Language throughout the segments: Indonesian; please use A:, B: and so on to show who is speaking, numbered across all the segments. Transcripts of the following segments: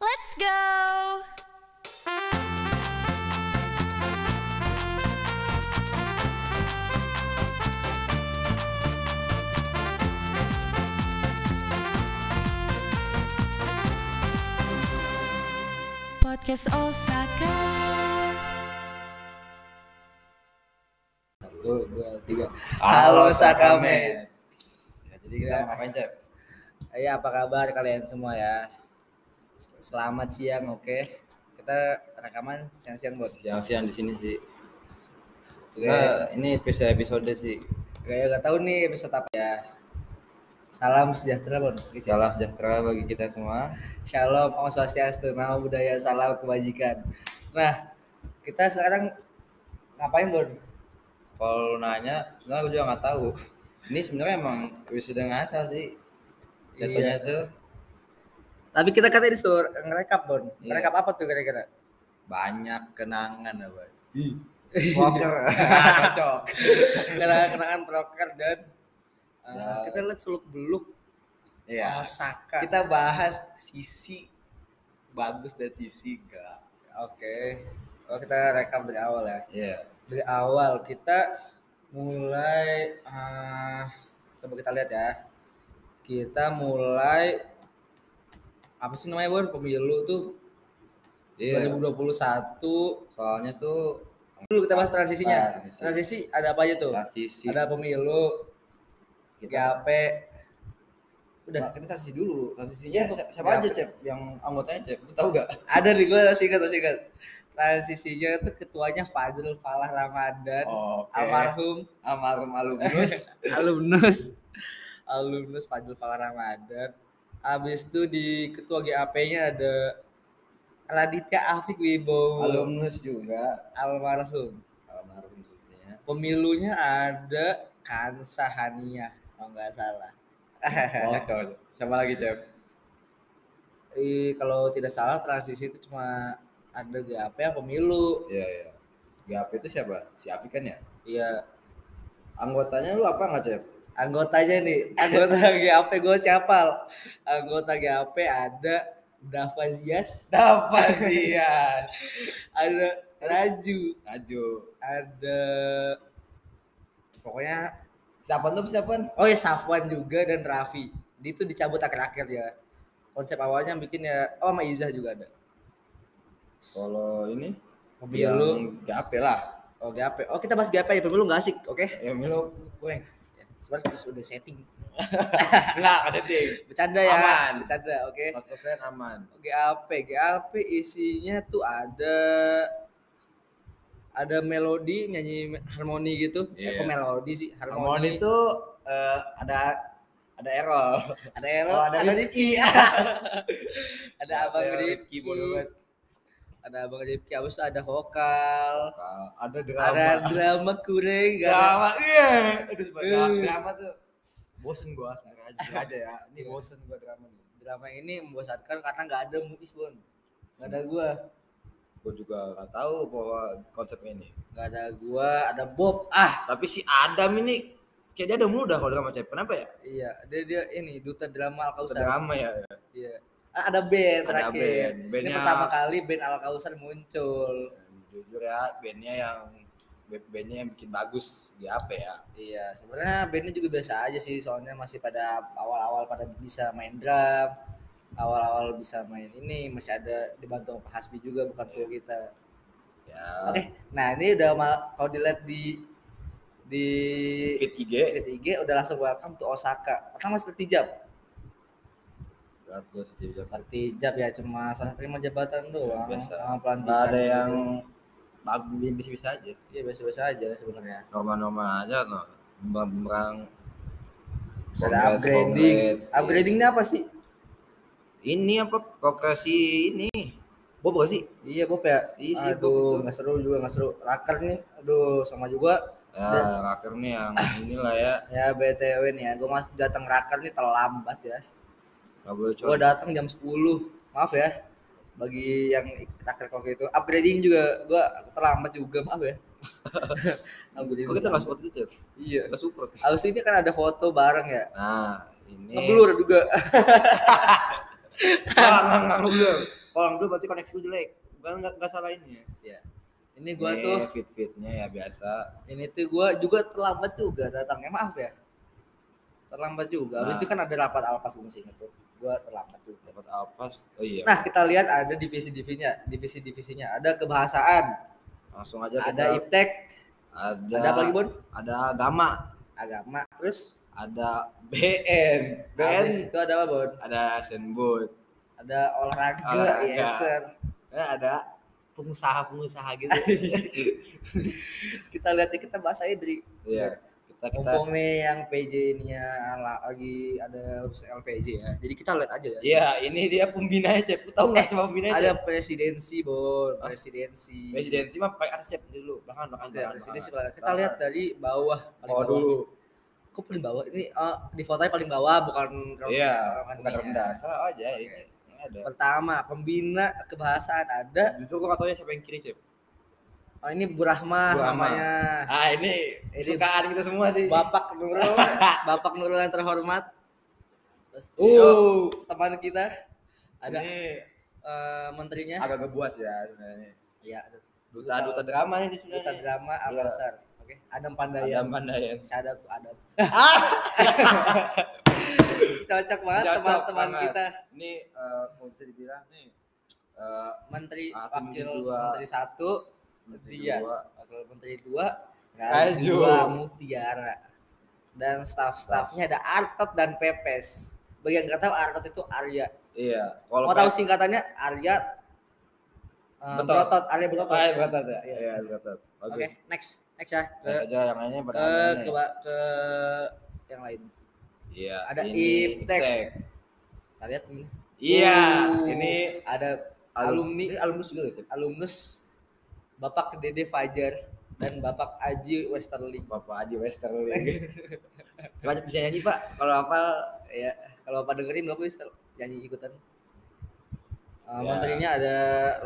A: Let's go. Podcast Osaka.
B: Satu, dua, tiga.
C: Halo Sakamen.
B: Ya, jadi kita
C: ngapain Cep?
B: Ya, apa kabar kalian semua ya? Sel- Selamat siang, oke. Kita rekaman siang-siang buat
C: Siang-siang di sini sih.
B: Oke.
C: Nah, ini spesial episode sih.
B: Kayak gak ya, tahu nih episode apa ya. Salam sejahtera, Bon. Oke, Cep.
C: Salam sejahtera bagi kita semua.
B: Shalom, Om Swastiastu, Namo Buddhaya, Salam Kebajikan. Nah, kita sekarang ngapain, Bon?
C: Kalau lu nanya, sebenarnya aku juga nggak tahu. Ini sebenarnya emang episode ngasal sih.
B: Iya.
C: Jatuhnya tuh
B: Tapi kita katanya disuruh ngerekap, Bon.
C: Iya.
B: Ngerekap apa tuh kira-kira?
C: banyak kenangan ya, apa. Poker.
B: Nah, cocok karena kenangan proker dan uh,
C: Ya.
B: kita lihat seluk beluk Ya.
C: Iya.
B: Osaka
C: Kita bahas sisi bagus dan sisi enggak.
B: oke Oh, kita rekam dari awal ya
C: Iya.
B: dari awal kita mulai uh, coba kita lihat ya kita mulai apa sih namanya bon pemilu tuh
C: Iya.
B: 2021
C: Soalnya tuh kan
B: dulu kita bahas transisinya
C: Transisi.
B: transisi ada apa aja tuh
C: transisi.
B: ada pemilu
C: kita,
B: GAP udah
C: udah kita transisi dulu. Transisinya
B: Iya,
C: si- siapa aja
B: iya.
C: Cep yang anggotanya Cep? Lu Tahu gak?
B: ada nih gue masih ingat masih ingat transisinya tuh ketuanya Fajrul Falah Ramadan
C: Oke.
B: almarhum
C: Almarhum alumnus.
B: alumnus alumnus Fajrul Falah Ramadan abis itu di ketua GAP-nya ada Raditya Afik Wibowo
C: alumnus juga.
B: almarhum
C: Almarhum sebenarnya.
B: pemilunya ada Kansa Hania kalau nggak salah
C: Bocor. Sama lagi Cep.
B: Eh, kalau tidak salah transisi itu cuma ada GAP yang pemilu
C: Iya iya. Gap itu siapa? Si Afi kan ya.
B: iya
C: Anggotanya lu apa nggak Cep?
B: anggotanya nih anggota GAP gue siapa anggota GAP ada Davazias
C: Davasias.
B: ada Raju
C: Aju.
B: ada pokoknya
C: Siapa tuh siapa?
B: oh ya Safwan juga dan Raffi Dia itu dicabut akhir-akhir ya konsep awalnya bikin ya oh sama Izzah juga ada
C: Kalau ini Iya.
B: pemilu
C: Gap ya lah.
B: oh GAP oh kita bahas GAP ya pemilu nggak asik oke
C: Ya milu kueng.
B: sebenarnya kita sudah setting
C: Enggak, kasih
B: bercanda ya
C: Aman.
B: bercanda oke
C: 100% aman.
B: GAP, GAP isinya tuh ada ada melodi nyanyi harmoni gitu. Eh,
C: Iya.
B: kok melodi sih? Harmoni.
C: Harmoni itu eh, ada ada error.
B: ada Erol,
C: Oh,
B: ada,
C: ada
B: Rifki. ada Abang
C: Ada
B: Rifki.
C: bodoh banget.
B: Ada Abang Rifki, abis itu ada vokal.
C: Nah, Ada
B: Ada drama kureng, ada
C: drama iya aduh
B: Eh.
C: sebenarnya drama tuh bosen gua sebenarnya aja, aja ya ini bosen gua drama nih
B: drama ini membosankan karena nggak ada Muis Bon. Nggak ada gua.
C: gua juga gak tahu bahwa konsepnya ini
B: Nggak ada gua, ada Bob. Ah,
C: tapi si Adam ini kayak dia ada mulu dah kalau drama cewek kenapa ya
B: iya, dia dia ini duta drama
C: Kalau
B: Alkausar.
C: drama ya
B: Iya. Ah, Ada band
C: Ada
B: terakhir.
C: band.
B: Ini
C: Bandnya-
B: pertama kali band Al Kausar muncul.
C: jujur ya bandnya yang bandnya yang bikin bagus di apa ya
B: Iya, sebenarnya bandnya juga biasa aja sih, soalnya masih pada awal-awal pada bisa main drum, awal-awal bisa main ini, masih ada dibantu sama Pak Hasbi juga, bukan full
C: Iya.
B: kita.
C: ya
B: Oke, nah ini udah mal- kalau dilihat di di
C: fit IG
B: feed IG udah langsung welcome to Osaka. Pertama Sertijab,
C: Berat gua sih, jujur.
B: Sertijab ya cuma salah terima jabatan doang,
C: Biasa.
B: sama
C: nggak
B: pelantikan.
C: ada
B: gitu.
C: yang bagus bisa-bisa aja
B: iya biasa-biasa aja sebenarnya.
C: normal-normal aja no bumerang
B: ada upgrading. Upgrading ini apa sih?
C: ini apa progresi ini Bob gak sih
B: Iya Bob ya.
C: Iya sih, Bob,
B: aduh
C: betul.
B: nggak seru juga nggak seru. Raker nih, aduh sama juga.
C: ya akhir nih yang inilah ya
B: Ya btw nih ya, gue masih datang raker nih terlambat ya.
C: gak boleh
B: Gue
C: coba
B: datang jam 10 maaf ya. Bagi yang ik- raker kok itu, upgrading juga gue terlambat juga maaf ya. upgrading.
C: kok kita gak support itu
B: Iya.
C: gak support
B: Abis ini kan ada foto bareng ya.
C: nah ini
B: Ngeblur juga.
C: nggak nggak nggak ngeblur Kalau yang dulu berarti koneksi gue jelek. Bukan nggak nggak salah ini ya.
B: Ini gua tuh,
C: fit fitnya Eh, ya biasa.
B: ini tuh gua juga terlambat juga datangnya. Maaf ya. Terlambat juga. Habis
C: Nah.
B: itu kan ada rapat alpas gue masih inget tuh. Gua terlambat juga.
C: Dapat alpas. Oh iya.
B: Nah, kita lihat ada divisi-divisinya, divisi-divisinya. Ada kebahasaan,
C: langsung aja
B: ada
C: kita-
B: iptek,
C: ada
B: ada apa lagi, Bon?
C: ada agama,
B: Agama. Terus
C: ada BN, BN
B: habis itu ada apa, Bon?
C: ada senbut,
B: Ada olahraga,
C: Olahraga.
B: yes, sir.
C: Eh, ada pengusaha-pengusaha gitu.
B: Kita lihat ya, kita bahas aja dari ya,
C: Iya. Kita kita
B: mumpung nih yang PJ ininya ala- lagi ada urus LPJ ya. Jadi kita lihat aja ya.
C: Iya, ini dia pembina Cep. Lu Tahu nggak cuma pembina
B: Eh, Ada
C: Cep?
B: presidensi, Bon. Presidensi.
C: Presidensi mah pakai atas Cep dulu. Bahkan bahkan
B: Ya,
C: bahkan,
B: presidensi
C: bahkan.
B: Pak. Kita lihat dari bawah paling
C: Oh, dulu.
B: Kok paling bawah? Ini eh, di fotonya paling bawah bukan
C: Iya,
B: bukan
C: bukan
B: ini ya.
C: rendah. Salah aja
B: Oke.
C: ini. Ini ada.
B: Pertama, pembina kebahasaan ada
C: Justru gua nggak tahu ya siapa yang kiri, Cep.
B: Oh, ini Bu Rahma
C: Bu Rahma.
B: namanya.
C: Ah, ini
B: Ini-
C: kesukaan kita semua sih.
B: Bapak Nurul, Bapak Nurul yang terhormat. Terus,
C: Yo.
B: uh, teman kita ada
C: ini
B: eh, menterinya.
C: agak ngebuas ya sebenarnya.
B: Ya, ada
C: Duta duta drama ya. Iya. ini
B: Duta
C: sebenarnya.
B: Drama
C: Iya.
B: Almasar. Oke, Adam Pandayan.
C: Adam Pandayan.
B: Syadat Adam. Cocok banget
C: Cocok
B: teman-teman
C: banget.
B: kita.
C: Ini eh, mau bisa dibilang nih eh,
B: Menteri
C: Ah,
B: Wakil
C: Menteri dua.
B: Menteri satu,
C: menteri
B: Dias.
C: dua.
B: Wakil Menteri dua,
C: Najwa.
B: Najwa Mutiara. Dan staff-staffnya ada Artot dan Pepes. Bagi yang nggak tahu Artot itu Arya.
C: Iya, kalau
B: Mau tahu singkatannya Arya eh,
C: Betul.
B: Berotot, Arya Berotot.
C: Berotot. Berotot ya.
B: Iya.
C: Iya, berotot.
B: Oke,
C: Bagus. ya.
B: next. Next ya. Ke
C: Lihat aja yang lainnya pada
B: ke,
C: aneh-aneh.
B: ke, ke yang lain.
C: Iya,
B: ada
C: ini
B: Iptek.
C: Iptek.
B: Kita lihat ini.
C: Iya,
B: Uh,
C: ini
B: ada alumni
C: alumni alumnus juga gitu.
B: alumnus Bapak Dede Fajar dan Bapak Aji Westerling.
C: Bapak Aji Westerling. Coba bisa nyanyi, Pak. Kalau hafal
B: Ya, kalau Bapak dengerin Bapak bisa nyanyi ikutan. Uh,
C: Ya.
B: Menterinya ada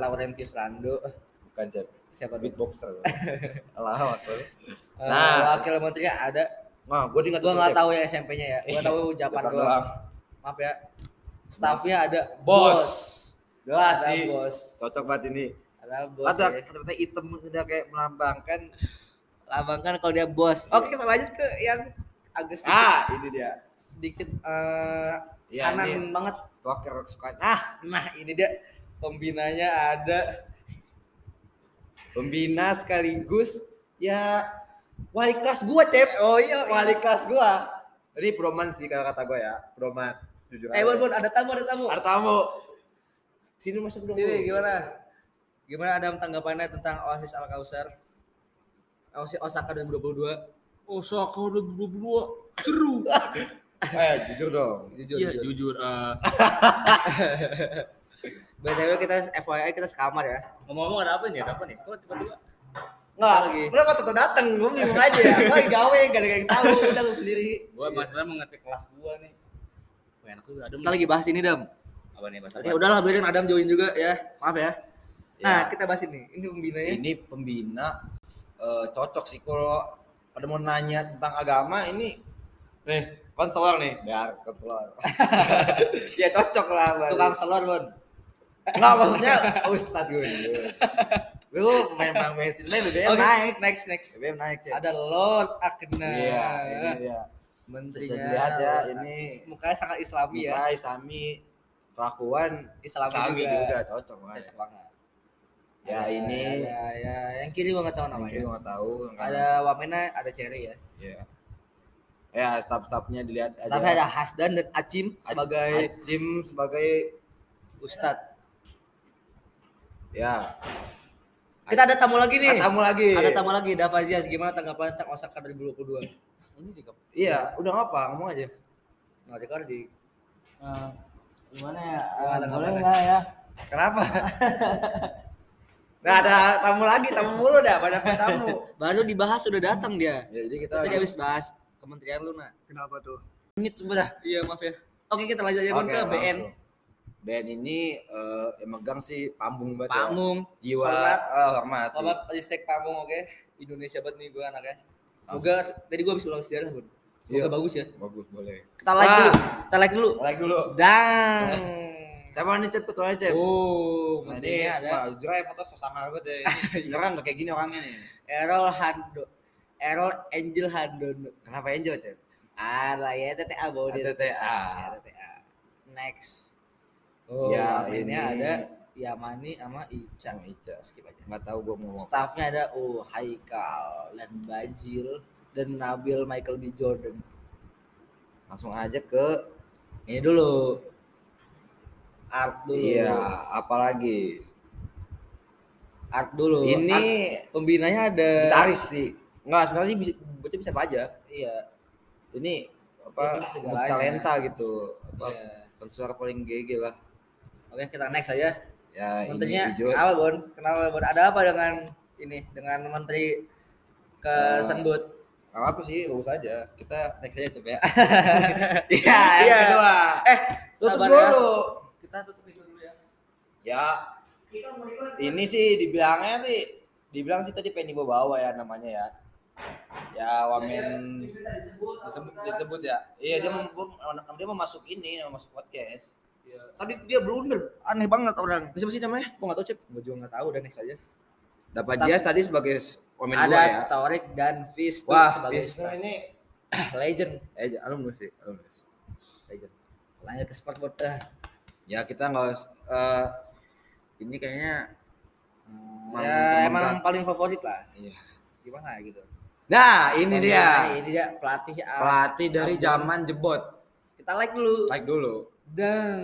B: Laurentius Rando, Eh,
C: bukan Cep,
B: siapa dulu?
C: beatboxer. Allah Akbar.
B: Eh,
C: Nah.
B: wakil menterinya ada
C: Wah, gua ingat
B: gua nggak tahu ya SMP-nya ya. Gua tahu Japan
C: Depan
B: doang.
C: doang.
B: Maaf ya. Staffnya ada
C: Bos.
B: Ada
C: Jelas sih.
B: bos.
C: Cocok banget ini.
B: Ada bos.
C: Ada
B: ya.
C: kata-kata hitam udah kayak melambangkan
B: Lambang kan kalau dia bos. Oke, kita lanjut ke yang agak sedikit,
C: ah ini dia
B: sedikit eh,
C: ya,
B: kanan
C: ini
B: banget.
C: rocker kesukaan ah
B: Nah, ini dia pembinanya ada
C: pembina Nah, sekaligus ya
B: wali kelas gua, Cep. Oh iya,
C: wali kelas gua ini proman sih kalau kata gua ya proman jujur
B: Eh, Bon, Bon, ada tamu, ada tamu.
C: ada tamu sini masuk dong
B: Sini,
C: Bu.
B: gimana? Gimana Adam tanggapannya tentang Oasis Al Kausar? Oasis Osaka 2022.
D: Osaka 2022 seru.
C: eh jujur dong
B: Jujur,
D: Iya
B: jujur.
D: jujur. eh,
B: BTW kita FYI kita sekamar ya.
D: Ngomong-ngomong ada apa nih? Ada apa nih? Kok tiba-tiba?
C: nggak
B: lagi.
C: kenapa tato dateng gua bingung aja ya gua gawe gak ada yang tahu udah lu sendiri
D: Gua pas sebenarnya mau ngecek kelas gua nih. Wah, enak juga ada.
B: Kita lagi bahas ini, Dam.
D: Apa nih bahasa?
B: Oke, udahlah biarin Adam join juga ya. Maaf ya. Nah,
C: Ya.
B: kita bahas ini. Ini ya. pembinanya.
C: ini pembina eh, cocok sih kalau pada mau nanya tentang agama ini
D: Eh,
C: nih konselor nih ya konselor ya cocok lah berarti.
B: Tukang selor, Bon.
C: nggak maksudnya
B: Oh,
C: ustad gue dulu. lu main main main sini BBM
B: Oke,
C: Ya, naik
B: next, next.
C: BBM naik cek
B: Ada Lord Akna.
C: iya ini dia bisa
B: Menterinya.
C: dilihat ya ini
B: Mukanya sangat islami ya.
C: Mukai Sami perlakuan
B: Islami,
C: Sami
B: juga.
C: juga cocok banget
B: Cocok banget.
C: ya
B: Ada-
C: ini
B: ada, ya, yang kiri gua nggak tahu namanya.
C: mungkin nggak tahu yang kanan.
B: Ada Wamena, ada Cherry ya.
C: ya ya staff-staffnya dilihat aja
B: Tapi ada Hasdan dan Acim sebagai
C: Ajim sebagai
B: ustadz.
C: ya
B: Kita ada tamu lagi nih.
C: ada tamu lagi
B: Ada tamu lagi, Davazias. Gimana tanggapan tentang Osaka 2022? Ini juga
C: iya udah ngapa ngomong aja
B: nggak rekor di
E: Eh, gimana ya
B: Gimana,
E: Eh,
B: gimana?
E: boleh lah ya
C: kenapa nah ada tamu lagi tamu mulu dah pada tamu
B: baru dibahas sudah datang dia.
C: ya jadi kita
B: Tadi habis bahas kementerian lu nah.
E: kenapa tuh
B: Menit sudah. Iya maaf ya. Oke kita lanjut aja Bon,
C: Oke,
B: ke BN.
C: langsung. BN ini eh, yang megang sih pambung banget ya.
B: Pamung.
C: jiwa
B: Hormat.
C: eh, hormat sih.
B: Bapak respect Pamung oke. Indonesia banget nih gue anaknya. Semoga tadi gue habis ulang sejarah bun. Semoga
C: Iya.
B: bagus ya.
C: bagus boleh
B: Ah. Kita like
C: Wah.
B: dulu. Kita like dulu.
C: like dulu
B: Dang.
C: Siapa nih cep ketuanya cep?
B: Oh,
C: Nah,
B: ini
C: ini
B: ada
C: ada. Jujur aja foto sosok banget ya. Ini Sebenarnya nggak kayak gini orangnya nih.
B: Errol Hando. Errol Angel Handono.
C: Kenapa enjoy cep?
B: Ah, lah ya TTA bawa dia.
C: TTA.
B: Ya, TTA. Next. Oh,
C: Ya,
B: ini
C: ini.
B: ada Yamani sama Ica.
C: Sama Ica.
B: skip aja.
C: Nggak tahu gue mau. ngomong.
B: Staffnya ada oh Haikal dan Bajil dan Nabil Michael B Jordan.
C: Langsung aja ke
B: Ini dulu. Art dulu.
C: Iya, apalagi
B: Art dulu.
C: ini
B: Art- pembinanya ada
C: gitaris sih. Enggak, sebenarnya bisa bocah bisa apa aja.
B: Iya.
C: Ini apa
B: Bocah bisa
C: multi
B: segalanya.
C: talenta gitu. Apa
B: Iya.
C: konselor paling gege lah.
B: Oke, kita next aja.
C: Ya,
B: Menterinya
C: ini hijau.
B: apa, Bon? Kenapa, Bon? Ada apa dengan ini dengan menteri ke
C: Eh,
B: Sembut?
C: Nggak apa sih, bagus aja. Kita next aja coba ya. Iya, yang
B: Iya.
C: kedua.
B: Eh,
C: Tutup
B: sabar ya.
C: dulu.
B: Kita tutup itu dulu ya.
C: Ya. Ini sih dibilangnya sih dibilang sih tadi pengen dibawa bawa ya namanya ya. Ya Wamen disebut disebut ya iya dia mem- mem- dia mau masuk ini mau masuk podcast tadi dia blunder aneh banget orang siapa sih namanya gua nggak tahu cep
B: Gue juga nggak tahu, udah next aja.
C: dapat
B: Staff.
C: Dias tadi sebagai komen
B: ada
C: dua ya
B: Torik dan Fisto
C: Wah,
B: sebagai
C: Fisto
B: staff. legend,
C: eh j- alumnus sih alumnus
B: legend. Lanjut ke Sportboard. Eh,
C: ya kita nggak us- eh, ini kayaknya hmm,
B: ya, emang
C: emang-
B: paling favorit lah.
C: iya.
B: Gimana gitu.
C: nah ini dia
B: Pembinanya, Ini dia pelatih. ah.
C: pelatih dari
B: Abdul.
C: zaman jebot
B: Kita like dulu.
C: like dulu
B: Dan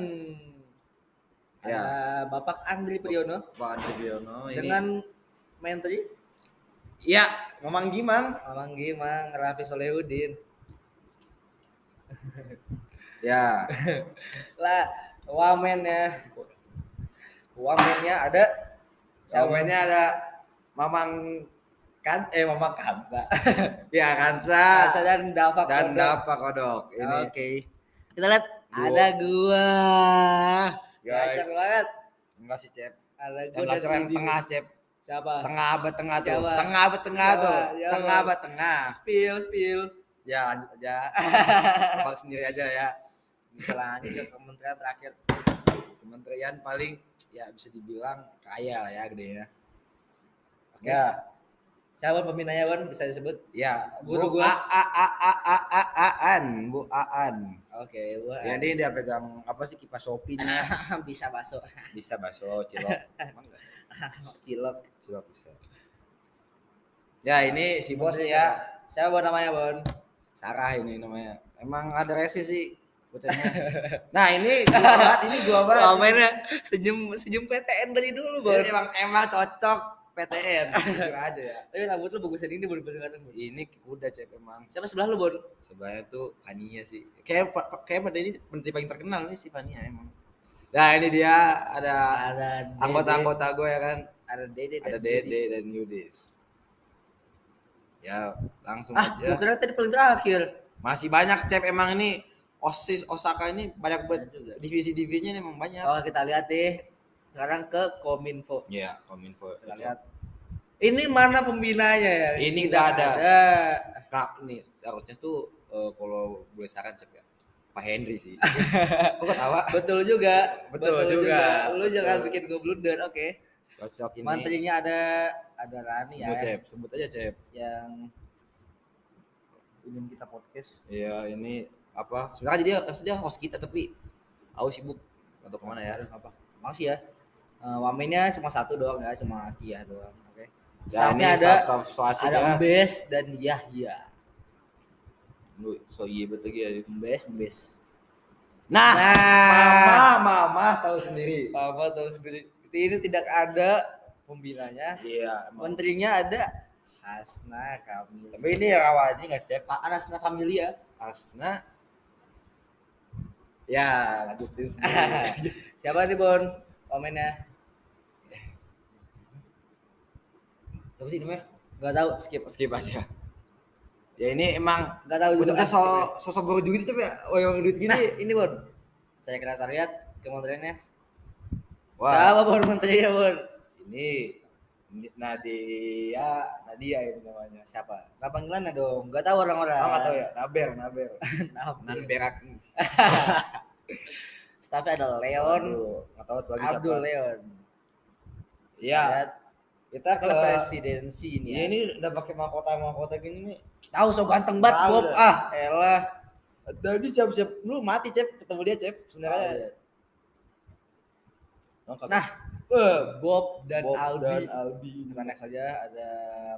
C: Ya.
B: ada Bapak Andri Priyono
C: Pak Andre Biono ini
B: dengan menteri
C: ya memang gimang
B: Mamang Gimang, Raffi Solehudin.
C: ya
B: Lah, wamennya. Wamennya ada
C: komennya ada Mamang kan eh Mamang Kansa ya
B: Asa
C: Kansa
B: dan Dava Kodok.
C: dan Dapa Kodok ini
B: Oke. Kita lihat
C: Gua.
B: ada gua.
C: Guys.
B: Gacor banget.
C: Enggak sih, Cep.
B: Ada
C: Yang
B: gua dan
C: lacer yang
B: Didi.
C: tengah, Cep.
B: Siapa?
C: Tengah abad tengah tuh.
B: Jawa.
C: Tengah abad tengah
B: Jawa,
C: tuh.
B: Jawa.
C: Tengah abad tengah.
B: Spill, spill.
C: Ya, lanjut aja. Abang sendiri aja ya.
B: Kita lanjut ke kementerian terakhir.
C: Kementerian paling ya bisa dibilang kaya lah ya gede ya. Oke.
B: Ya. Siapa pembinanya, Bon? Bisa disebut?
C: Ya,
B: Guru
C: Bu
B: gua.
C: A A A A A A Aan, Bu Aan.
B: Oke, gua.
C: Ya ini dia pegang apa sih kipas Shopee nih.
B: bisa masuk.
C: Bisa bakso, cilok. Emang nggak?
B: Cilok.
C: Cilok bisa. Ya ini si bos nih ya.
B: Siapa Bon, namanya, Bon?
C: Sarah ini namanya. Emang ada resi sih bocahnya. nah ini gua banget, ini gua banget.
B: Komennya senyum senyum PTN dari dulu, Bon.
C: Jadi emang emang cocok PTN. Jujur aja ya.
B: Eh, rambut lu bagusan ini baru besengan.
C: Ini kuda cek emang.
B: Siapa sebelah lu, Bon?
C: Sebenarnya tuh Fania sih. Kayak kayak pada ini menteri paling terkenal nih si Fania emang. Nah ini dia ada
B: Ada Dede.
C: anggota-anggota gue ya kan.
B: ada Dede dan
C: Ada Dede
B: Yudis.
C: dan Yudis. Ya langsung
B: Ah,
C: aja.
B: gua kira tadi paling terakhir.
C: Masih banyak cep emang ini OSIS Osaka ini banyak
B: Banyak
C: banget
B: juga.
C: divisi-divisinya emang banyak.
B: Oh, kita lihat deh. Sekarang ke Kominfo.
C: Iya, kominfo.
B: Kita lihat. Ini mana pembinanya ya?
C: Ini
B: Tidak
C: nggak ada. Kak nih harusnya tuh eh, kalau boleh saran cek ya. Pak Henry sih. Kok ketawa?
B: Betul juga.
C: Betul juga.
B: Lu
C: Betul.
B: jangan bikin gue blunder, oke.
C: Cocok ini.
B: Mantrinya ada ada Rani ya.
C: sebut cep, sebut aja cep.
B: yang ingin kita podcast
C: Iya, ini apa? Sebenarnya dia dia host kita tapi aku sibuk atau kemana ya?
B: apa makasih ya Eh wamennya cuma satu doang ya cuma Kia doang oke
C: Ya, ini
B: staffnya ada
C: staff, staff so asik
B: ada
C: ya.
B: Mbes dan Yahya
C: Lu, So iya betul lagi ya.
B: Mbes Mbes
C: Nah,
B: Mama,
C: mama tahu sendiri.
B: apa tahu sendiri ini tidak ada pembinanya
C: Iya, emang.
B: menterinya ada Asna Kamil
C: Tapi ini yang awalnya nggak cep.
B: Pak Asna Familia
C: Asna. Ya, lanjutin sendiri.
B: siapa nih Bon komennya
C: Apa sih namanya?
B: nggak tahu skip
C: skip aja ya ini emang
B: nggak tahu juga.
C: udah
B: Ah, skip ya.
C: sosok eh, sosok baru duit tapi ya oh yang duit gini
B: Nah, ini Bon. Saya sekretariat kementeriannya.
C: wah
B: Siapa Bon menterinya Bon?
C: ini ini Nadia Nadia ini namanya
B: Siapa? Nah, panggilannya dong. Gak tahu
C: ya?
B: orang-orang.
C: oh nggak tahu ya Naber Naber
B: Nah,
C: Nan berak
B: staffnya ada Leon,
C: Nggak tahu tuh lagi siapa.
B: Abdul Leon.
C: Iya.
B: Lihat,
C: Kita ke
B: Kalau presidensi ini.
C: Eh, Iya,
B: Ya.
C: ini udah pakai mahkota mahkota gini nih.
B: Tahu so ganteng banget
C: Tahu
B: Bob
C: dah.
B: ah, elah.
C: Tadi siap-siap lu mati, Cep. Ketemu dia, Cep. Sebenarnya.
B: Tahu, ya.
C: Nongkrong.
B: Nah,
C: eh,
B: Bob dan
C: Bob
B: Albi.
C: Oh, dan Albi.
B: Kita next aja ada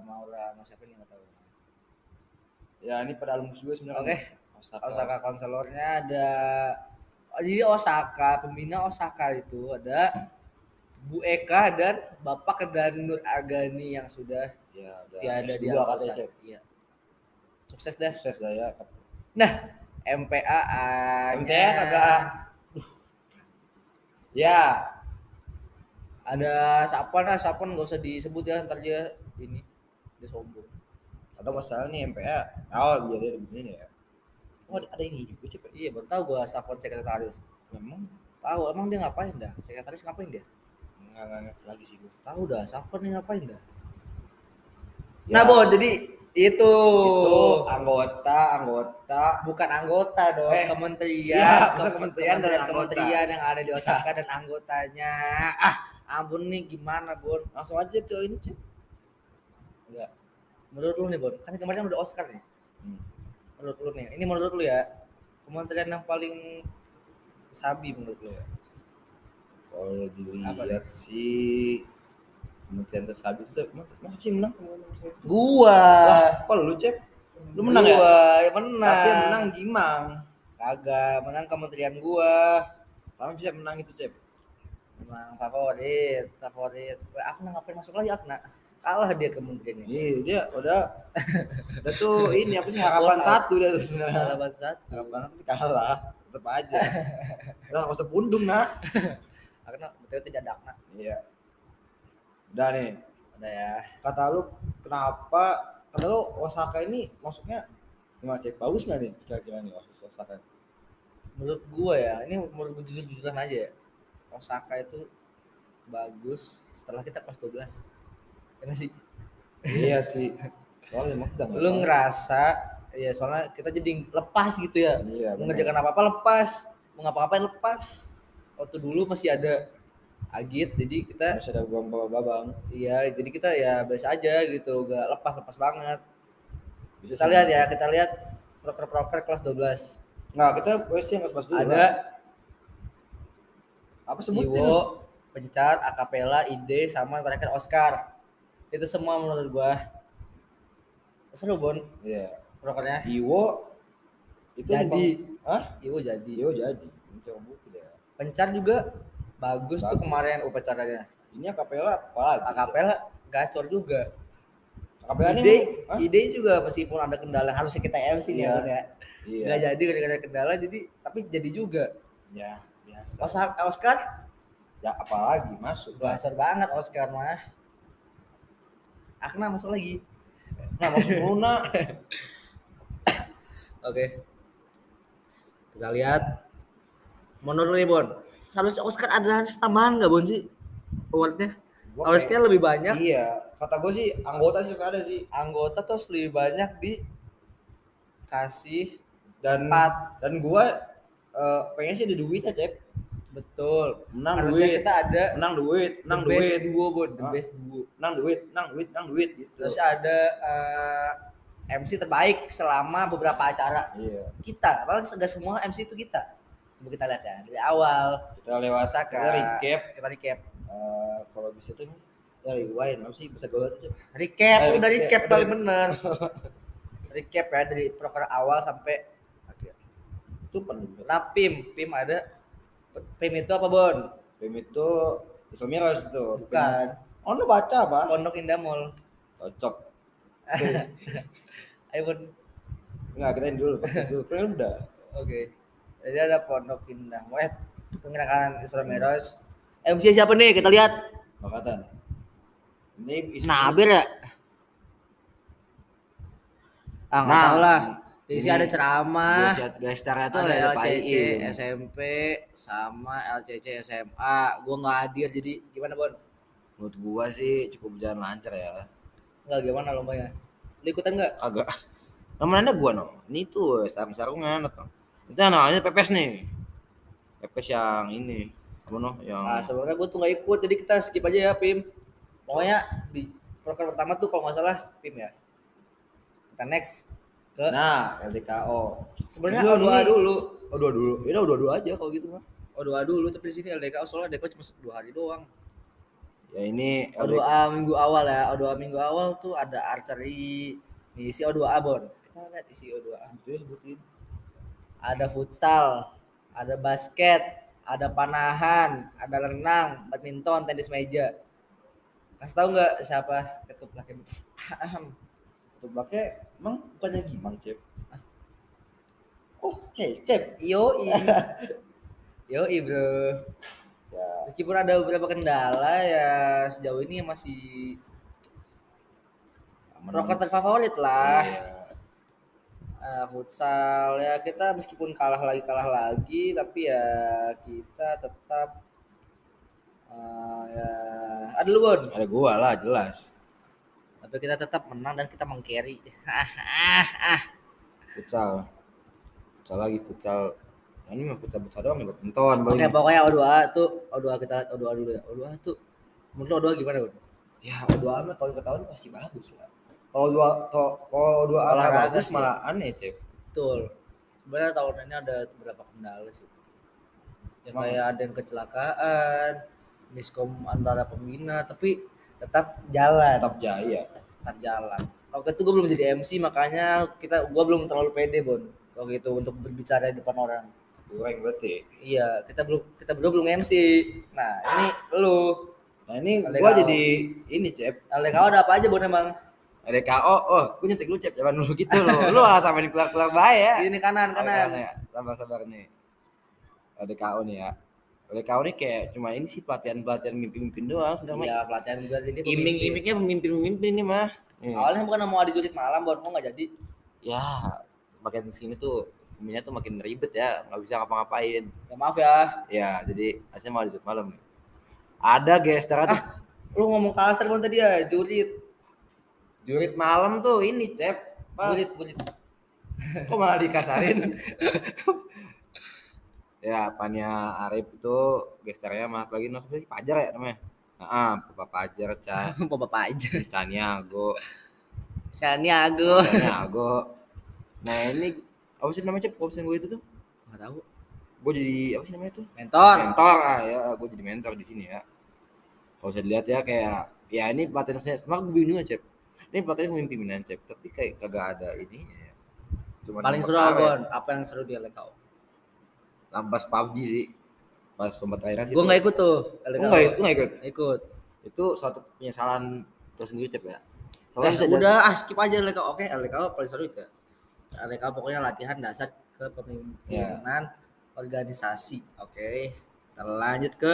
B: Maura sama siapa nih nggak tahu.
C: Nah, Ya, ini pada alumnus gue sebenarnya.
B: Oke.
C: Osaka.
B: Osaka konselornya ada oh, jadi Osaka pembina Osaka itu ada Bu Eka dan Bapak Kedan Nur Agani yang sudah
C: Ya, udah.
B: tiada
C: S2
B: di
C: katanya,
B: angkatan.
C: Cep.
B: Iya. Sukses dah.
C: Sukses dah ya.
B: MPA -nya
C: MTA kagak. Ya,
B: ada Sapan ah Sapan gak usah disebut ya ntar dia ini dia sombong.
C: atau masalah nih MPA. Oh, iya dia begini ya. Oh, ada, ada ini juga, Cep.
B: Iya, baru tahu gua Sapan sekretaris.
C: Memang
B: Tahu emang dia ngapain dah? Sekretaris ngapain dia?
C: nggak nggak ngerti lagi sih gue.
B: Tahu dah Sapan nih ngapain dah?
C: Ya,
B: Nah, Bo, jadi itu.
C: itu anggota anggota
B: bukan anggota dong,
C: Eh,
B: kementerian,
C: iya,
B: Kem-
C: maksudnya kementerian dan anggota.
B: kementerian yang ada di Osaka dan anggotanya. Ah, ampun nih gimana, Bon?
C: langsung aja ke ini cek
B: Enggak. Menurut lu nih, Bon, kan kemarin udah Oscar nih.
C: Hmm.
B: Menurut lu nih, ini menurut lu ya, kementerian yang paling sabi menurut lu ya?
C: kalau
B: Apa
C: dilihat sih kementerian tersabi itu mana sih menang kementerian tersabi
B: Gua.
C: wah kalau lu cek Eh. lu menang ya
B: Gua, ya menang.
C: tapi yang menang Gimang
B: kagak, menang kementerian gua.
C: kamu bisa menang itu cek
B: Menang favorit, favorit. Wah, Akna ngapain masuk lagi Akna? Kalah dia kementerian ini.
C: iya dia udah udah tuh ini apa sih harapan
B: Gua tahu.
C: satu dia tuh sebenarnya
B: Halaman satu.
C: harapan satu kalah tetap aja udah nggak usah pundung nak
B: Akna betul tidak ada Akna.
C: iya udah nih
B: Ada ya.
C: kata lu kenapa kata lu Osaka ini maksudnya gimana cek bagus nggak nih kira-kira nih Os- Osaka
B: Menurut gua ya, ini menurut gua jujur-jujuran aja ya. Osaka itu bagus setelah kita kelas 12. Ya nggak sih?
C: iya sih soalnya emang kita nggak
B: Lu
C: tahu.
B: ngerasa ya soalnya kita jadi lepas gitu ya.
C: iya bener.
B: Mengerjakan apa-apa lepas, mau ngapa-ngapain lepas. Waktu dulu masih ada Agit, jadi kita
C: masih ada babang babang
B: iya jadi kita ya biasa aja gitu, gak lepas-lepas banget.
C: Bisa
B: Kita
C: sih.
B: lihat ya, kita lihat proker-proker kelas 12.
C: nah kita wes yang kelas dulu
B: Ada
C: apa sebutin lu?
B: Iwo, Pencat, Akapela, Ide, sama terakhir Oscar. Itu semua menurut gua seru Bon
C: iya
B: prokernya.
C: Iwo itu
B: Jadi.
C: memang- Hah?
B: Iwo jadi.
C: Iwo jadi mencoba buku deh
B: Pencar juga bagus, tuh
C: Bagus.
B: kemarin upacaranya.
C: ini akapela apa lagi
B: Akapela gacor juga.
C: akapela ini
B: Ide,
C: Hah?
B: ide juga meskipun ada kendala harusnya kita MC nih
C: Iya.
B: ya. Bon, ya.
C: iya
B: Nggak jadi gara-gara kendala jadi tapi jadi juga.
C: ya biasa
B: Oscar, Oscar
C: ya apalagi masuk lah
B: gacor banget Oscar mah. Akna masuk lagi.
C: nah masuk dulu nak
B: Oke. Kita lihat. Menurut lu nih Bon, seharusnya Oscar ada harus tambahan nggak Bon sih awardnya?
C: Gua
B: Harusnya lebih banyak.
C: Iya, kata gue sih anggota sih ada sih
B: Anggota tuh harus lebih banyak dikasih
C: dan
B: empat.
C: dan gue eh, pengen sih ada duitnya cep
B: Betul.
C: menang
B: harusnya
C: duit
B: kita ada
C: menang duit menang
B: the best
C: duit
B: duo Bon, the
C: Ah.
B: best duo.
C: menang duit menang duit menang duit gitu
B: Terus ada eh, MC terbaik selama beberapa acara
C: iya
B: kita. Padahal nggak semua MC itu kita. Coba kita lihat ya dari awal.
C: kita lewat
B: Osaka.
C: kita recap
B: Kita recap.
C: Eh, kalau bisa tuh nih ya rewind apa sih bisa gue lihat cep
B: Recap,
C: Eh,
B: udah
C: recap,
B: recap
C: udah.
B: paling bener. recap ya dari proker awal sampai akhir.
C: itu penduduk
B: Nah, PIM, PIM ada PIM itu apa, Bon?
C: BEM itu Isomiros itu
B: Bukan.
C: oh lu baca apa
B: Pondok Indah Mall.
C: cocok
B: Ayo, Bon.
C: nggak kita ini dulu podcast dulu kan udah
B: Oke. Jadi ada Pondok Indah Mall. Eh, penggerakan Isra Mi'raj. MC siapa nih? Kita lihat.
C: bakatan ini
B: Nabil ya? Ah, nggak
C: Nah,
B: tahu lah.
C: ini-
B: Isi ada ceramah.
C: guys cara itu
B: ada
C: ada
B: LCC
C: Pai
B: SMP sama LCC SMA gue nggak hadir jadi gimana bon
C: menurut gua sih cukup berjalan lancar ya
B: nggak gimana lombanya lu ikutan nggak
C: agak namanya gua no ini tuh sarung sarungan apa itu nah ini pepes nih Epes yang ini apa noh yang
B: Nah, sebenarnya gue tuh nggak ikut, jadi kita skip aja ya, Pim. Pokoknya di proker pertama tuh kalau nggak salah, Pim ya. Kita next ke
C: nah LDKO
B: sebenarnya
C: Dua
B: O2A
C: dulu.
B: dulu.
C: oh dua dulu ya udah dua dua aja kalau gitu mah
B: O2A Oh, dulu, tapi di sini LDK oh, soalnya LDK cuma dua hari doang.
C: ya ini LDKO
B: O2A minggu awal ya, O2A minggu awal tuh ada archery, nih isi O2A Bon. Kita lihat isi O2A.
C: Gitu ya, sebutin
B: Ada futsal, ada basket, ada panahan, ada renang, badminton, tenis meja. Kasih tahu nggak siapa ketup laki
C: ketupatnya emang bukannya gimang cep oh cecep
B: Yo Yo bro.
C: ya
B: Meskipun ada beberapa kendala ya sejauh ini masih rocker terfavorit lah. Eh, futsal ya kita meskipun kalah lagi kalah lagi tapi ya kita tetap eh, ya ada lu Bon.
C: ada gua lah jelas
B: Tapi kita tetap menang dan kita meng-carry.
C: futsal futsal lagi futsal Nah, ini mah futsal futsal doang nih buat nonton
B: Oke,
C: paling
B: pokoknya O2A tuh O2A kita lihat O2A dulu ya. O2A tuh menurut lo O2A gimana, Bon?
C: ya dua amat tahun ke tahun pasti bagus lah kalau dua to- kalau dua
B: Olahraga
C: amat bagus
B: sih.
C: malah aneh cep
B: Betul. Sebenarnya tahun ini ada beberapa kendala sih. Ya
C: Emang?
B: kayak ada yang kecelakaan, miskom antara pembina, tapi tetap jalan,
C: tetap jaya
B: tetap jalan. Waktu itu gue belum jadi MC makanya kita gua belum terlalu pede Bon waktu itu untuk berbicara di depan orang.
C: goreng berarti
B: Iya, kita belum kita belum belum MC. Nah, ini lu
C: nah ini
B: Ada
C: gua
B: kau.
C: jadi ini cep
B: LDKO ada apa aja Bon emang?
C: ada KO oh gua nyetik lu cep zaman dulu gitu loh lu ah sama di kelak kelak baik ya
B: Ini kanan kanan.
C: Ada ya. sabar sabar nih ada KO nih ya ada KO nih kayak cuma ini sih pelatihan pelatihan mimpi mimpin doang sebenarnya
B: Iya, pelatihan gue jadi pemimpin.
C: iming imingnya pemimpin pemimpin nih mah Nih.
B: Awalnya bukan mau adu julid malam, Bon, mau nggak jadi.
C: ya makin sini tuh pemimpinnya tuh makin ribet ya nggak bisa ngapa-ngapain
B: Ya maaf ya,
C: ya jadi aslinya mau lanjut malam nih ada gestar tuh
B: lu ngomong kasar bang tadi ya jurit
C: jurit malam tuh ini cep Apa?
B: jurit jurit
C: kok malah dikasarin ya pania Arif itu gesternya mah lagi no siapa sih pajar ya namanya ah bapak pajar Ca-
B: bapak aja
C: Caniago
B: Santiago
C: Caniago nah ini apa sih namanya cep option gue itu tuh
B: nggak tahu
C: gue jadi apa sih namanya tuh
B: mentor
C: mentor ah ya gue jadi mentor di sini ya kalau saya lihat ya kayak ya ini pelatihan saya cuma gue bingung aja Cep. ini pelatihan pemimpin pimpinan cep tapi kayak kagak ada ininya ya cuma
B: paling seru apa
C: ya?
B: Bon? apa yang seru di LKO
C: lampas PUBG sih pas sempat akhirnya sih
B: gue nggak ikut tuh
C: gue
B: LKO
C: nggak ikut, nggak ikut
B: Nggak ikut
C: itu suatu penyesalan tersendiri cep ya
B: eh,
C: bisa
B: udah ah, skip aja LKO oke LKO paling seru itu ya. LKO pokoknya latihan dasar kepemimpinan organisasi oke kita lanjut ke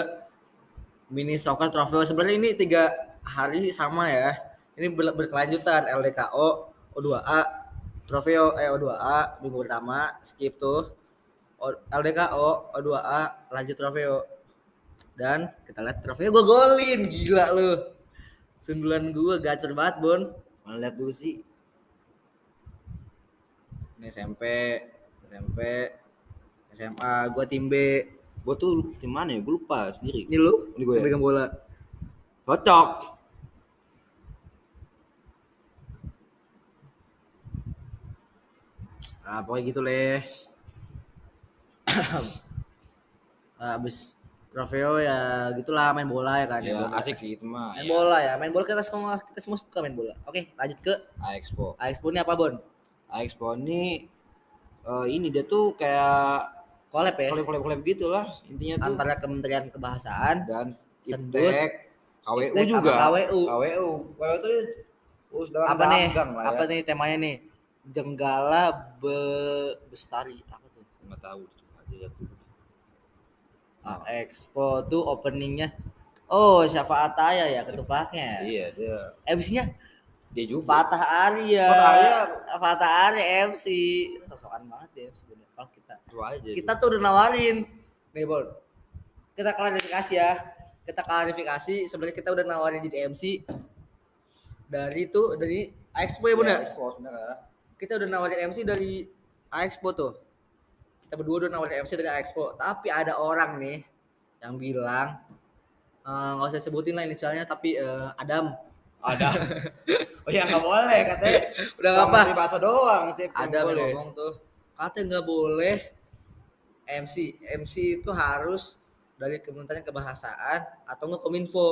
B: mini soccer trofeo sebenarnya ini tiga hari sama ya ini ber- berkelanjutan LDKO O2A trofeo eh O2A minggu pertama skip tuh O- LDKO O2A lanjut trofeo dan kita lihat trofeo gue golin gila lu sundulan gue gacor banget bon
C: Mana lihat dulu sih
B: ini SMP SMP SMA gue tim B
C: gue tuh di mana ya gue lupa sendiri
B: ini lu
C: Ini gua ya?
B: pegang bola
C: cocok
B: Ah, pokoknya gitu leh. Ah, Abis trofeo ya gitulah main bola ya kan.
C: ya,
B: bola.
C: asik sih itu mah
B: Main
C: ya,
B: bola ya, main bola kita semua kita semua suka main bola. Oke, lanjut ke
C: Expo
B: Expo ini apa Bon?
C: Expo ini eh, ini dia tuh kayak
B: Collab ya
C: kolab kolab kolab gitu lah intinya tuh
B: antara Kementerian Kebahasaan
C: dan
B: Sendut,
C: Iptek KWU
B: Iptek sama
C: juga
B: KWU.
C: KWU KWU tuh urus dalam
B: apa nih?
C: dagang lah
B: Apa
C: ya
B: nih temanya nih? Jenggala Be... Bestari apa tuh?
C: nggak tahu coba aja lihat dulu.
B: Ah, Expo tuh openingnya Oh, Syafaat Ataya ya ketupatnya.
C: iya dia
B: MC-nya
C: dia juga
B: Fatah Arya.
C: Fatah Arya.
B: Fatah Arya FC. Sosokan banget ya sebenarnya kalau kita.
C: coba aja
B: Kita tuh udah nawarin. Nih, Bon. Kita klarifikasi ya. Kita klarifikasi sebenarnya kita udah nawarin jadi MC dari tuh dari Expo ya, Bun. ya?
C: Expo sebenarnya
B: Kita udah nawarin MC dari Expo tuh. kita berdua udah nawarin MC dari Expo tapi ada orang nih yang bilang eh, nggak usah sebutin lah inisialnya tapi eh, Adam
F: Ada. Oh ya
C: iya,
F: nggak boleh katanya.
B: udah nggak apa
F: Bahasa doang, Cep.
B: ada yang ngomong tuh katanya nggak boleh MC MC itu harus dari Kementerian Kebahasaan atau nggak Kominfo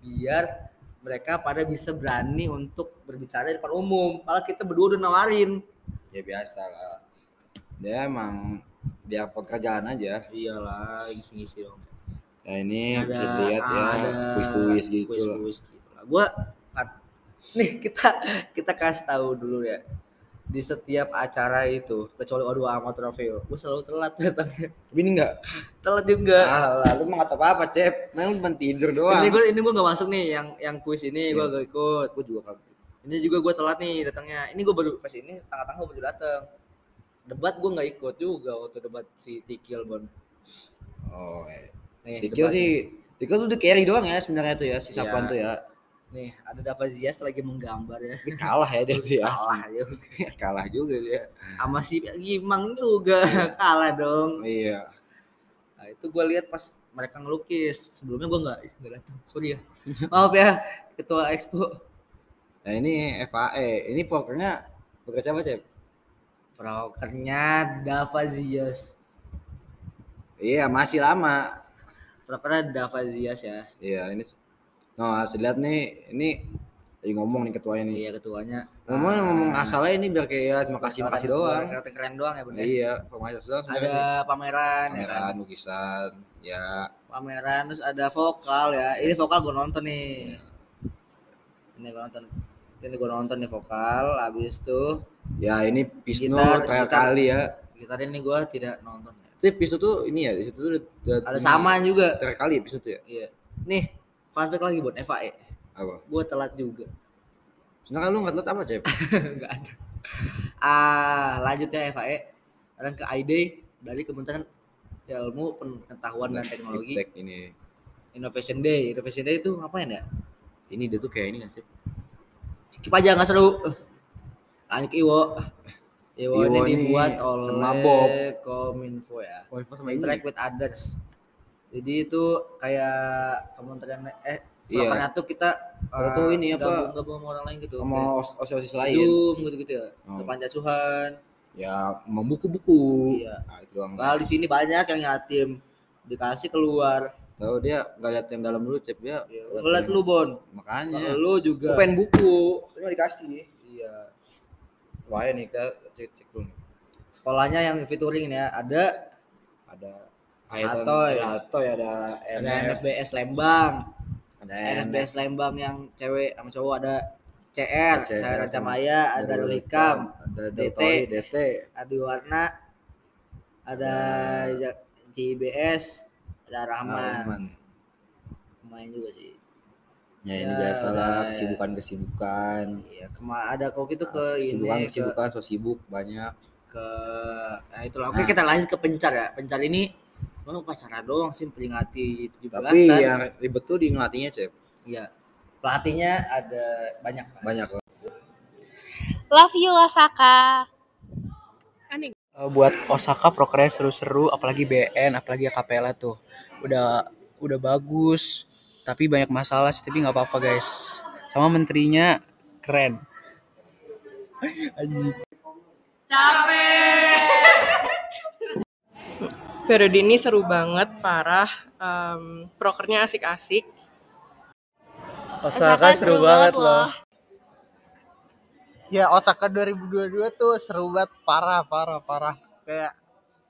B: biar mereka pada bisa berani untuk berbicara di depan umum kalau kita berdua udah nawarin
C: ya biasa lah dia emang dia pekerjaan aja
B: iyalah ngisi-ngisi dong
C: ya
B: Iya,
C: ini bisa dilihat ya kuis-kuis gitu
B: kuis
C: lah.
B: kuis gitu lah gue nih kita kita kasih tahu dulu ya di setiap acara itu kecuali waduh amat Rafael gue selalu telat datangnya
C: tapi ini enggak
B: telat juga
C: ah lu mah apa apa cep main lu cuma tidur doang
B: Ini gue ini gue gak masuk nih yang yang kuis ini gue
C: Iya.
B: gak ikut.
C: gue juga kagak
B: Ini juga gue telat nih datangnya. Ini gue baru pas ini tengah-tengah gue baru datang. Debat gue nggak ikut juga waktu debat si Tikil Bon.
C: oh eh.
B: Nih,
C: Dikil
B: debatnya.
C: sih Dikil tuh di carry doang ya sebenarnya tuh ya si
B: Iya.
C: Sapuan tuh ya
B: Nih ada Davazias lagi menggambar ya.
C: tapi kalah ya dia tuh ya
B: Kalah ya.
C: kalah juga dia
B: Sama si Gimang juga kalah dong.
C: iya
B: Nah, itu gue lihat pas mereka ngelukis. Sebelumnya gue nggak nggak datang. Sorry ya. Maaf ya ketua Expo.
C: nah ini FAE ini pokernya poker siapa cep
B: Prokernya Davazias.
C: iya masih lama
B: Prokernya Davazias ya.
C: iya ini nah harus lihat nih ini lagi ngomong nih ketuanya nih
B: Iya ketuanya.
C: ngomong ngomong asalnya ini biar kayak ya, terima kasih makasih doang
B: Keren, keren doang ya bener.
C: iya formasi doang sebenarnya sih.
B: Ada pameran, ya kan?
C: kameran lukisan ya
B: Pameran terus ada vokal ya. Ini vokal gue nonton nih. Ini gue nonton. Ini gue nonton nih vokal. Habis itu
C: ya ini Pisno
B: Gitar-
C: terakhir
B: gitar.
C: kali ya
B: gitar ini gue tidak nonton.
C: tapi Pisno tuh ini ya di situ tuh udah- udah-
B: Ada sama juga.
C: terakhir kali ya Pisno tuh ya
B: Hmm. Iya. Nih, fun fact lagi buat FAE.
C: apa
B: Gue telat juga.
C: Sedangkan lu nggak telat apa cep?
B: Enggak ada. Ah, lanjut ya FAE. Sekarang ke ID dari Kementerian Ilmu Pengetahuan dan Teknologi.
C: Iptek ini.
B: Innovation Day. Innovation Day itu ngapain ya?
C: Ini dia tuh kayak ini nggak sih?
B: Skip aja nggak seru. Eh, Lanjut ke Iwo. Iwo,
C: Iwo
B: ini
C: ini
B: dibuat oleh
C: sama Bob.
B: Kominfo ya.
C: Kominfo sama
B: Interact with others. Jadi itu kayak kementerian eh
C: Iya.
B: iya. tuh kita
C: Kalau
B: eh,
C: tuh ini apa?
B: gabung, gabung sama orang lain gitu.
C: Sama os- osis-osis
B: Kayak
C: lain.
B: Zoom gitu-gitu ya.
C: Iya. Oh.
B: Ke Pancasuhan.
C: Ya, membuku-buku.
B: Iya.
C: Nah, itu doang.
B: Kalau di sini banyak yang yatim dikasih keluar.
C: Tahu dia nggak lihat yang dalam dulu cep dia.
B: Lu Iya, liat lu Bon.
C: Makanya.
B: Lu juga.
C: Iya. Gua pengen buku. Ini dikasih.
B: Iya.
C: Wah ini kita cek cek dulu. nih.
B: Sekolahnya yang featuring ini ya ada
C: Ada
B: Atoy.
C: Ada Atoy, ada
B: ada
C: NF,
B: NFBS Lembang,
C: ada NF.
B: NFBS Lembang yang cewek sama cowok ada CR,
C: CR,
B: CR Rancamaya, ada Rolikam,
C: ada
B: DT.
C: Dotoy, DT,
B: ada Warna, ada
C: Ada-
B: Ja- JBS, ada Nah. Rahman,
C: Arman.
B: main juga sih.
C: Ya ini
B: Ya,
C: biasa lah
B: udah.
C: kesibukan-kesibukan. Ah,
B: Iya, kema ada kok gitu ke
C: Kesibukan
B: ini ke,
C: kesibukan so sibuk banyak.
B: ke nah itulah. Oke, kita lanjut ke pencar ya. Pencar ini cuma upacara doang sih peringati 17-an.
C: Tapi yang ribet tuh di ngelatihnya cep
B: iya. Pelatihnya ada banyak.
C: banyak lah.
G: Love you Osaka.
D: Eh, buat Osaka prokernya seru-seru apalagi BN apalagi akapela tuh udah udah bagus tapi banyak masalah sih tapi nggak apa-apa guys sama menterinya keren
H: Periode ini seru banget, parah. Em, prokernya asik-asik.
D: Oh,
G: Osaka seru banget loh.
I: ya Osaka 2022 tuh seru banget parah parah parah kayak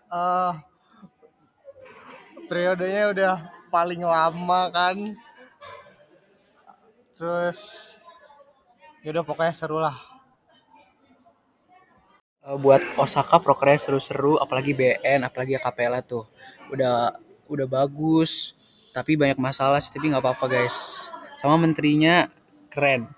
I: eh periodenya udah paling lama kan terus ya udah pokoknya seru lah
D: Eh, buat Osaka prokernya seru-seru apalagi BN apalagi akapela tuh udah udah bagus tapi banyak masalah sih tapi nggak apa-apa guys sama menterinya keren